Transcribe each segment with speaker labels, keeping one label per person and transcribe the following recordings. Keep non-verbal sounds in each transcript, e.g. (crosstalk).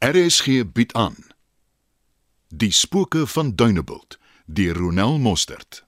Speaker 1: RSG bied aan Die spooke van Duneveld deur Ronel Mostert.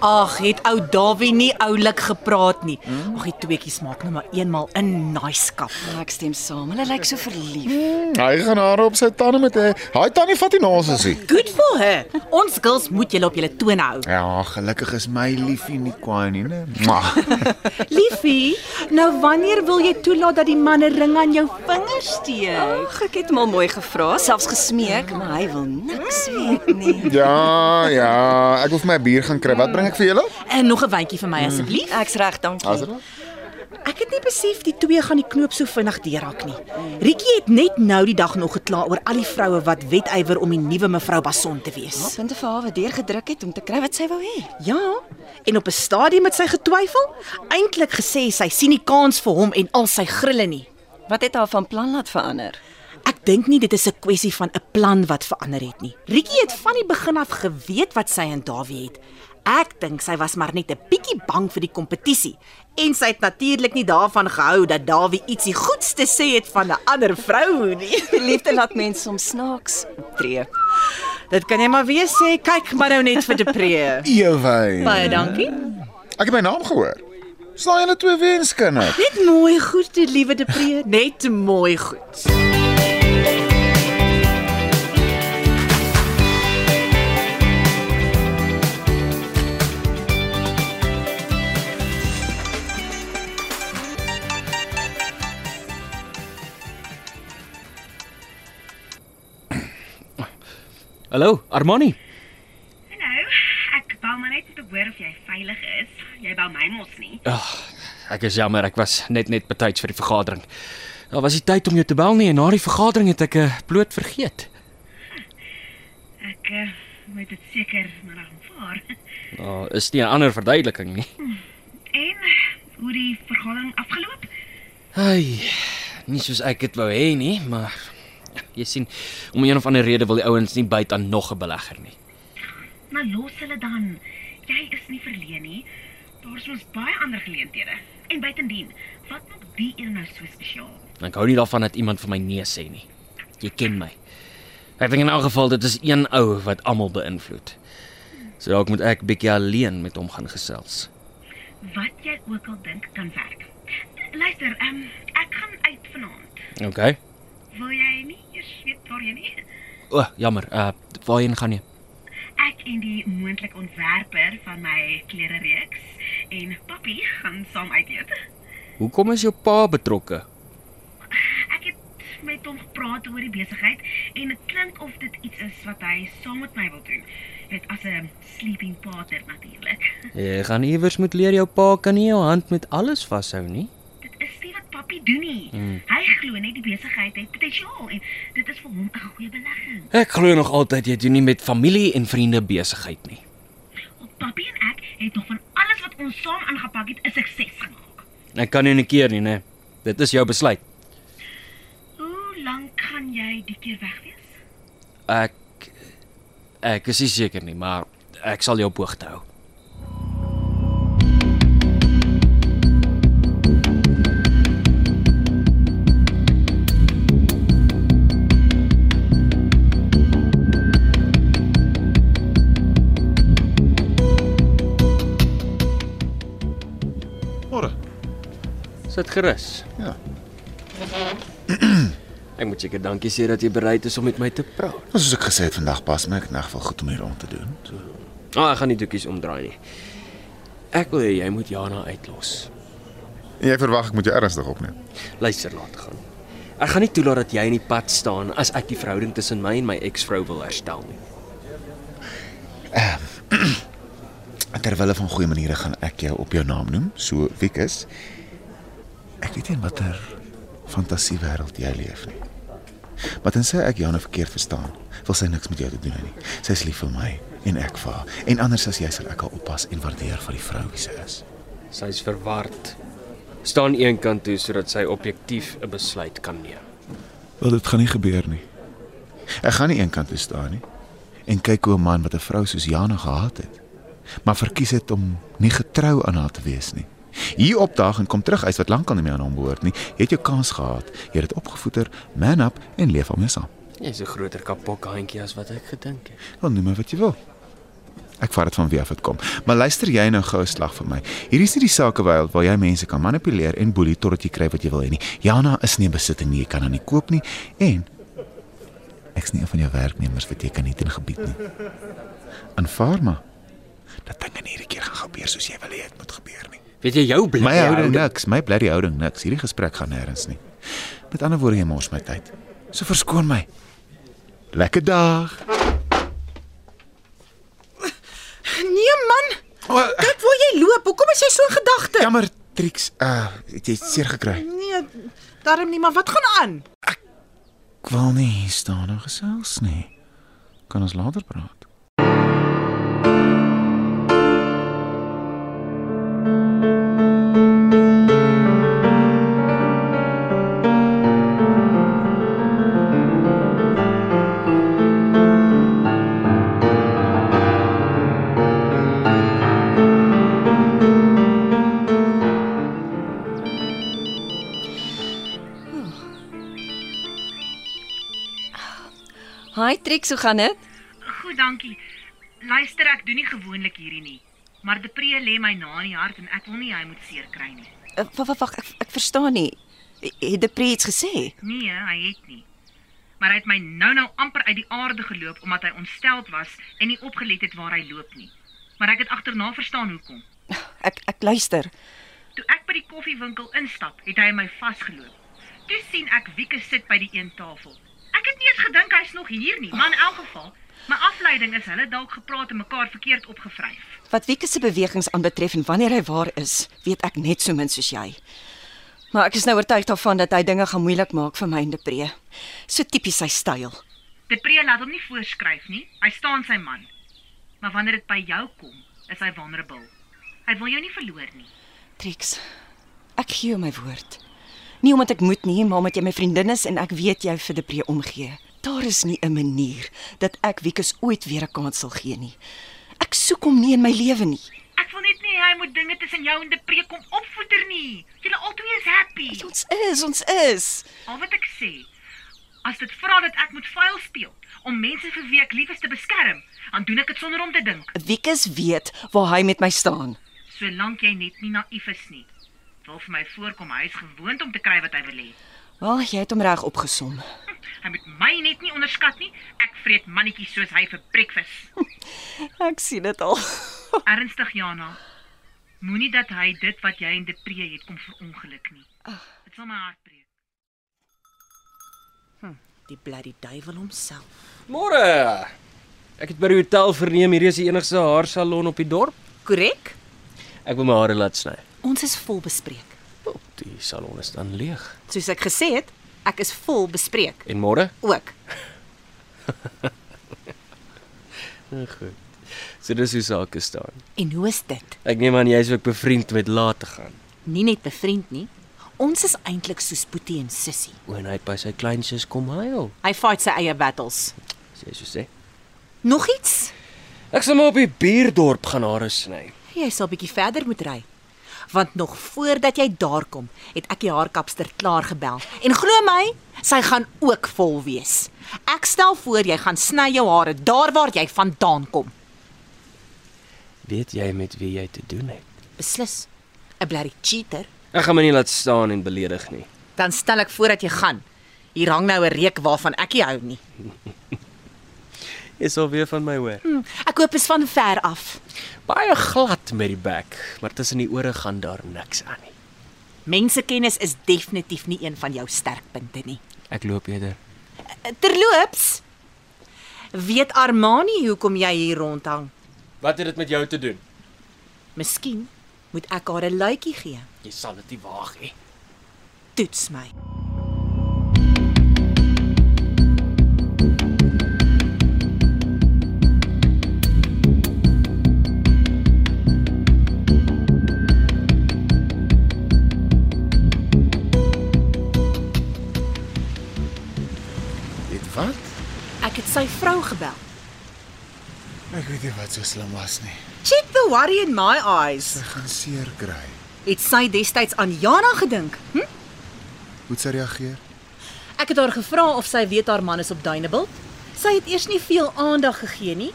Speaker 2: Ag, het ou Dawie nie oulik gepraat nie. Ag, die tweetjies maak nou maar eenmal 'n nice kap.
Speaker 3: Maar ek stem saam. Hulle lyk so verlief.
Speaker 4: Hy gaan haar op sy tande met hy. Hy tannie vat die naas as hy.
Speaker 2: Good for her. Ons girls moet julle op julle tone hou.
Speaker 4: Ja, gelukkig is my liefie nie kwaai nie,
Speaker 2: (laughs)
Speaker 4: né? Maar
Speaker 2: Liefie, nou wanneer wil jy toelaat dat die manne ring aan jou vingers steek?
Speaker 3: Ag, ek het hom al mooi gevra, selfs gesmeek, maar hy wil niks weet nie.
Speaker 4: ja, ja, ek wil vir my 'n bier gaan kry. Wat bring ek vir julle?
Speaker 2: En nog 'n wyntjie vir my
Speaker 4: Hmm.
Speaker 2: asseblief.
Speaker 3: Ek's reg, dankie.
Speaker 2: Ek het nie besef die twee gaan die knoop so vinnig deurhak nie. Rietjie het net nou die dag nog gekla oor al die vroue wat wedywer om die nuwe mevrou Bason te
Speaker 3: Wat
Speaker 2: wees.
Speaker 3: punte vir haar wat deurgedruk het om te kry wat sy wou hê.
Speaker 2: Ja, en op 'n stadium het sy getwyfel, eintlik gesê sy sien nie kans vir hom en al sy grille nie.
Speaker 3: Wat het haar van plan laat verander?
Speaker 2: Ek dink nie dit is 'n kwessie van 'n plan wat verander het nie. Rietjie het van die begin af geweet wat sy en Dawie het. Ek dink sy was maar net 'n bietjie bang vir die kompetisie en sy het natuurlik nie daarvan gehou dat Dawie ietsie goeds te sê het van 'n ander vrou nie. (laughs)
Speaker 3: Die liefde laat mense soms snaaks optree.
Speaker 2: Dit kan jy maar weer sê, kyk maar nou net vir Depree.
Speaker 4: Ewy.
Speaker 2: Baie dankie.
Speaker 4: Ek het my naam gehoor. Slaan julle twee wenskinders.
Speaker 2: Net mooi goed, die liewe Depree, net mooi goed.
Speaker 5: Hallo, Armani.
Speaker 6: Nou, ek wou maar net om te hoor of jy veilig is. Jy wou my mos nie.
Speaker 5: Ja, Ek is jammer, ek was net net betyds vir die vergadering. Daar was nie tyd om jou te bel nie en na die vergadering het ek uh, bloot vergeet.
Speaker 6: Ek uh, moet dit seker maar aanvaar.
Speaker 5: Daar uh, is nie 'n ander verduideliking nie.
Speaker 6: En hoe die vergadering afgeloop?
Speaker 5: Ai, nie soos ek dit wou hê nie, maar jy sien, om een of ander rede wil die ouens nie byt aan nog 'n belegger nie.
Speaker 6: Maar los hulle dan. Jy is nie verleen nie. Daar's ons baie ander geleenthede. En buitendien, wat maak die een nou so spesiaal?
Speaker 5: Ek hou nie daarvan dat iemand vir my nee sê nie. Jy ken my. Ek dink in elk geval dit is een ou wat almal beïnvloed. So dalk moet ek bietjie alleen met hom gaan gesels.
Speaker 6: Wat jy ook al dink kan werk. Luister, ehm um, ek gaan uit vanaand.
Speaker 5: OK.
Speaker 6: Wil jy nie eers weet waarheen nie?
Speaker 5: O, oh, jammer. Uh waarheen gaan jy?
Speaker 6: Ek en die moontlike ontwerper van my klere reeks en Pappie gaan saam uit eet.
Speaker 5: Hoekom is jou pa betrokke?
Speaker 6: Ek het met hom gepraat oor die besigheid en dit klink of dit iets is wat hy saam met my wil doen. Net as 'n sleeping partner natuurlik. (laughs)
Speaker 5: Jy gaan iewers moet leer jou pa kan nie jou hand met alles vashou nie.
Speaker 6: Dit is nie wat Pappie doen nie.
Speaker 5: Hmm.
Speaker 6: Hy glo net die besigheid het potensiaal en dit is vir hom 'n goeie belegging.
Speaker 5: Ek glo nog altyd jy doen nie met familie en vriende besigheid nie.
Speaker 6: Pappie en ek het nog van alles wat ons saam aangepak het 'n sukses gemaak.
Speaker 5: Ek kan nie 'n keer nie, né? Dit is jou besluit.
Speaker 6: Hoe lank gaan jy die keer weg wees?
Speaker 5: Ek ek is nie seker nie, maar ek sal jou op hoogte hou.
Speaker 4: Môre.
Speaker 5: Sit gerus.
Speaker 4: Ja.
Speaker 5: Ek moet seker dankie sê dat jy bereid is om met my te praat.
Speaker 4: Soos ek gesê het vandag pas my ek nag wel goed om hier rond te doen. So.
Speaker 5: Ah, ek gaan nie doekies omdraai nie. Ek wil hê jy moet Jana uitlos.
Speaker 4: En jy verwag ek moet jou ernstig opneem.
Speaker 5: Luister laat gaan. Ek gaan nie toelaat dat jy in die pad staan as ek die verhouding tussen my en my eksvrou wil herstel nie.
Speaker 4: Terwyl van goeie maniere gaan ek jou op jou naam noem, so Wikus. Ek weet nie in watter fantasiewêreld jy leef nie. Maar tensy ek jou nou verkeerd verstaan, wil sy niks met jou te doen hê nie. Sy is lief vir my en ek vir haar. En anders as jy sal ek haar oppas en waardeer vir die vrou wie sy is.
Speaker 5: Sy's verward. Staan een kant toe sodat sy objektief 'n besluit kan neem.
Speaker 4: Wel dit gaan nie gebeur nie. Ek gaan nie eenkant toe staan nie en kyk hoe 'n man wat 'n vrou soos Jana gehaat het, maar verkies het om nie getrou aan haar te wees nie. Hier opdaag en kom terug uit wat lankal nie meer aan hom behoort nie. Jy het jou kans gehad. Jy het dit opgevoeder, man up en leef daarmee saam.
Speaker 5: Jy's 'n groter kapokhandjie as wat ek gedink het.
Speaker 4: Wel noem my wat jy wil. Ek vat dit van wie af dit kom. Maar luister jy nou gou 'n slag vir my. Hierdie is nie die sakewêreld waar jy mense kan manipuleer en boelie totdat jy kry wat jy wil hê nie. Jana is nie in besitting nie, jy kan haar nie koop nie en ek's nie een van jou werknemers wat jy kan nie in gebied nie. Aanvaar maar dat dinge nie hierdie keer gaan gebeur soos jy wil hê dit moet gebeur nie.
Speaker 5: Weet jy jou blik?
Speaker 4: My houding nou- niks, my bly die houding niks. Hierdie gesprek gaan nêrens nie. Met ander woorde, jy mors my tyd. So verskoon my. Lekker dag.
Speaker 2: Nee man,
Speaker 4: Oh,
Speaker 2: dit wil jy loop. Hoekom is jy so in gedagte?
Speaker 4: Jammer, Trix. Uh, het jy seer gekry?
Speaker 2: Nee, daarom nie, maar wat gaan aan?
Speaker 4: Ek wil nie hier staan en gesels nie. Kan ons later praat?
Speaker 7: Hi Trix, hoe gaan dit?
Speaker 6: Goed, dankie. Luister, ek doen nie gewoonlik hierdie nie. Maar Depree lê my na in die hart en ek wil nie hy moet seer kry nie.
Speaker 7: Eh, Wag wag wag, ek ek verstaan nie. Het Depree iets gesê?
Speaker 6: Nee, hy het nie. Maar hy het my nou-nou amper uit die aarde geloop omdat hy ontsteld was en nie opgelet het waar hy loop nie. Maar ek het agterna verstaan hoekom.
Speaker 7: Ek ek luister.
Speaker 6: Toe ek by die koffiewinkel instap, het hy my vasgeloop. Toe sien ek Wieke sit by die een tafel. Ek het nie eens gedink hy's nog hier nie, maar in elk geval, my afleiding is hulle dalk gepraat en mekaar verkeerd opgevryf.
Speaker 7: Wat Wieke se bewegings aanbetref en wanneer hy waar is, weet ek net so min soos jy. Maar ek is nou oortuig daarvan dat hy dinge gaan moeilik maak vir my en Depree. So tipies sy styl.
Speaker 6: Depree laat hom nie voorskryf nie. Hy staan sy man. Maar wanneer dit by jou kom, is hy vulnerable. Hy wil jou nie verloor nie.
Speaker 7: Trix, ek gee jou my woord. Nie omdat ek moet nie, maar omdat jy my vriendin is en ek weet jy vir Depree omgee. Daar is nie 'n manier dat ek Wiekus ooit weer 'n kans sal gee nie. Ek soek hom nie in my lewe nie.
Speaker 6: Ek wil net nie hy moet dinge tussen jou en Depree kom opvoeder nie. Julle albei is happy.
Speaker 7: Ons is, ons is.
Speaker 6: Al wat ek sê, as dit vra dat ek moet vuil speel om mense vir wie ek lief is te beskerm, dan doen ek dit sonder om te dink,
Speaker 7: Wiekus weet waar hy met my staan.
Speaker 6: solank jy net nie naïef is nie. Wil vir my voorkom hy is gewoond om te kry wat hy wil hê.
Speaker 7: Wel, jy het hom reg opgesom.
Speaker 6: Hm, Hy moet my net nie onderskat nie. Ek vreet mannetjies soos hy vir breakfast.
Speaker 7: Ek sien dit al.
Speaker 6: Ernstig Jana, moenie dat hy dit wat jy in depree het kom verongeluk nie. Dit sal my hart breek.
Speaker 2: Die bloody duiwel homself.
Speaker 5: Môre. Ek het by die hotel verneem hierdie is die enigste haarsalon op die dorp.
Speaker 2: Korrek?
Speaker 5: Ek wil my hare laat sny.
Speaker 2: Ons is vol bespreek.
Speaker 5: Op die salon is dan leeg.
Speaker 2: Soos ek gesê het, ek is vol bespreek
Speaker 5: En môre?
Speaker 2: ook.
Speaker 5: Goed. So dis hoe sake staan.
Speaker 2: En hoe is dit?
Speaker 5: Ek neem aan jy's ook bevriend met laat te gaan.
Speaker 2: Nie net bevriend nie. Ons is eintlik soos Boetie en Sissie.
Speaker 5: O, en hy het by sy kleinsus kom huil.
Speaker 2: Hy fight sy eie battles.
Speaker 5: As jy so sê.
Speaker 2: Nog iets?
Speaker 5: Ek sal maar op die buurdorp gaan hare sny.
Speaker 2: Jy sal bietjie verder moet ry. Want nog voordat jy daar kom, het ek die haarkapster klaar gebel. En glo my, sy gaan ook vol wees. Ek stel voor jy gaan sny jou hare daar waar jy vandaan kom.
Speaker 5: Weet jy met wie jy te doen het?
Speaker 2: Beslis. 'n Blerry cheater.
Speaker 5: Ek gaan my nie laat staan en beledig nie.
Speaker 2: Dan stel ek voor dat jy gaan. Hier hang nou 'n reuk waarvan ek nie hou nie.
Speaker 5: Jy sal weer van my hoor.
Speaker 2: Hm, Ek hoop is van ver af.
Speaker 5: Hm, Baie glad met die bek, maar tussen die ore gaan daar niks aan nie.
Speaker 2: Mensekennis is definitief nie een van jou sterkpunte nie.
Speaker 5: Ek loop eerder.
Speaker 2: Terloops, weet Armani hoekom jy hier rondhang?
Speaker 5: Wat het dit met jou te doen?
Speaker 2: Miskien moet ek haar 'n luitjie gee.
Speaker 5: Jy sal dit nie waag nie.
Speaker 2: Toets my. sy vrou gebel.
Speaker 4: Ek weet nie wat so slim was nie.
Speaker 2: Check the worry in my eyes.
Speaker 4: Ek gaan seer kry.
Speaker 2: Het sy destyds aan Jana gedink? Hm?
Speaker 4: Hoe het sy reageer?
Speaker 2: Ek het haar gevra of sy weet haar man is op Dunebuld. Sy het eers nie veel aandag gegee nie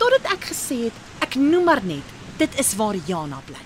Speaker 2: totdat ek gesê het, ek noem maar net, dit is waar Jana bly.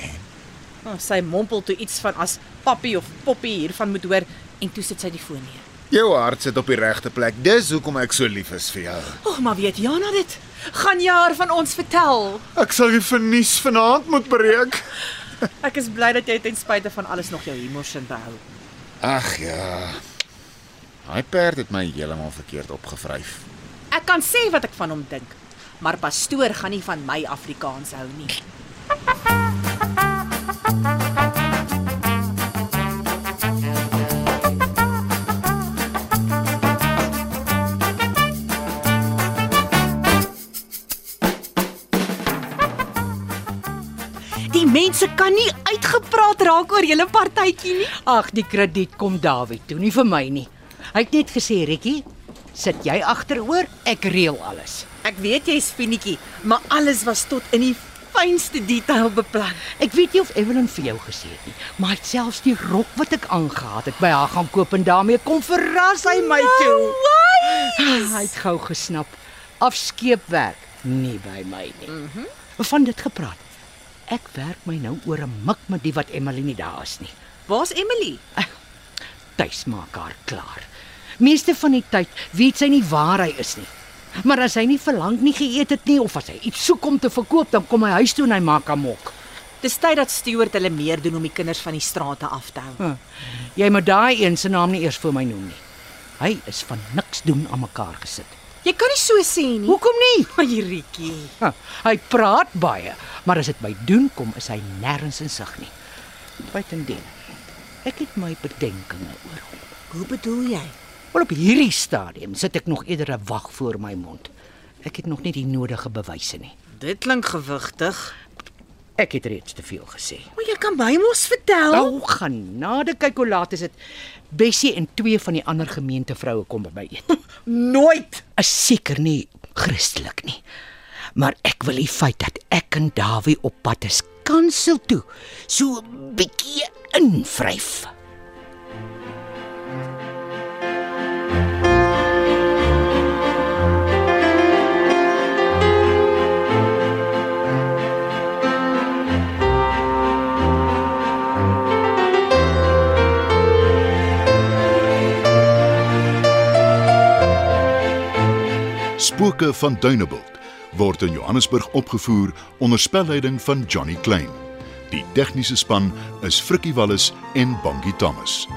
Speaker 2: En oh, sy mompel toe iets van as pappie of poppie hiervan moet hoor en toe sit sy die foon neer.
Speaker 4: Jou hart sit op die regte plek. Dis hoekom ek so lief is vir jou.
Speaker 2: O, oh, maar weet Jana dit? Gaan jy haar van ons vertel?
Speaker 4: Ek sal die vernies vanaand moet breek.
Speaker 2: Ek is bly dat jy ten spyte van alles nog jou humor sin behou.
Speaker 4: Ag ja. Hy perd het my heeltemal verkeerd opgevryf.
Speaker 2: Ek kan sê wat ek van hom dink, maar pastoor gaan nie van my Afrikaans hou nie. Die mense kan nie uitgepraat raak oor julle partytjie nie.
Speaker 7: Ag, die krediet kom Dawie toe, nie vir my nie. Hy het net gesê, Rikkie, sit jy agteroor, ek reël alles.
Speaker 2: Ek weet jy's finietjie, maar alles was tot in die fynste detail beplan.
Speaker 7: Ek weet nie of Evelyn vir jou gesê het nie, maar hy het selfs die rok wat ek aangetree het by haar gaan koop en daarmee kom verras hy my toe. Ah, Hy het gou gesnap. Afskeepwerk, nie by my nie. Mhm. Mm Van dit gepraat. Ek werk my nou oor 'n mik met die wat Emily nie daar is nie.
Speaker 2: Waar's Emily?
Speaker 7: Tuis maak haar klaar. Meeste van die tyd weet sy nie waar hy is nie. Maar as hy nie verlang nie geëet het nie of as hy iets soek om te verkoop, dan kom hy huis toe en hy maak amok.
Speaker 2: Dis tyd dat Stewart hulle meer doen om die kinders van die strate af te hou.
Speaker 7: Huh. Jy moet daai een se naam nie eers vir my noem nie. Hy is van niks doen aan mekaar gesit.
Speaker 2: Jy kan nie so sê nie.
Speaker 7: Hoekom nie?
Speaker 2: (laughs) Maar Hierdie.
Speaker 7: Huh. Hy praat baie, maar as dit by doen kom, is hy nêrens in sig nie. Buitendien, ek het my bedenkinge oor hom.
Speaker 2: Hoe bedoel jy?
Speaker 7: Maar op hierdie stadium sit ek nog eerder 'n wag voor my mond. Ek het nog nie die nodige bewyse nie.
Speaker 2: Dit klink gewigtig.
Speaker 7: Ek het reeds te veel gesê.
Speaker 2: Maar jy kan my mos vertel.
Speaker 7: Nou genade, kyk hoe laat is dit. Bessie en twee van die ander gemeentevroue kom by my eet.
Speaker 2: nooit.
Speaker 7: Is seker nie Christelik nie. Maar ek wil die feit dat ek en Dawie op pad is kansel toe. So 'n bietjie invryf.
Speaker 1: Spooke van Dunebuld word in Johannesburg opgevoer onder spelleiding van Johnny Klein. Die tegniese span is Frikkie Wallis en Bongie Thomas.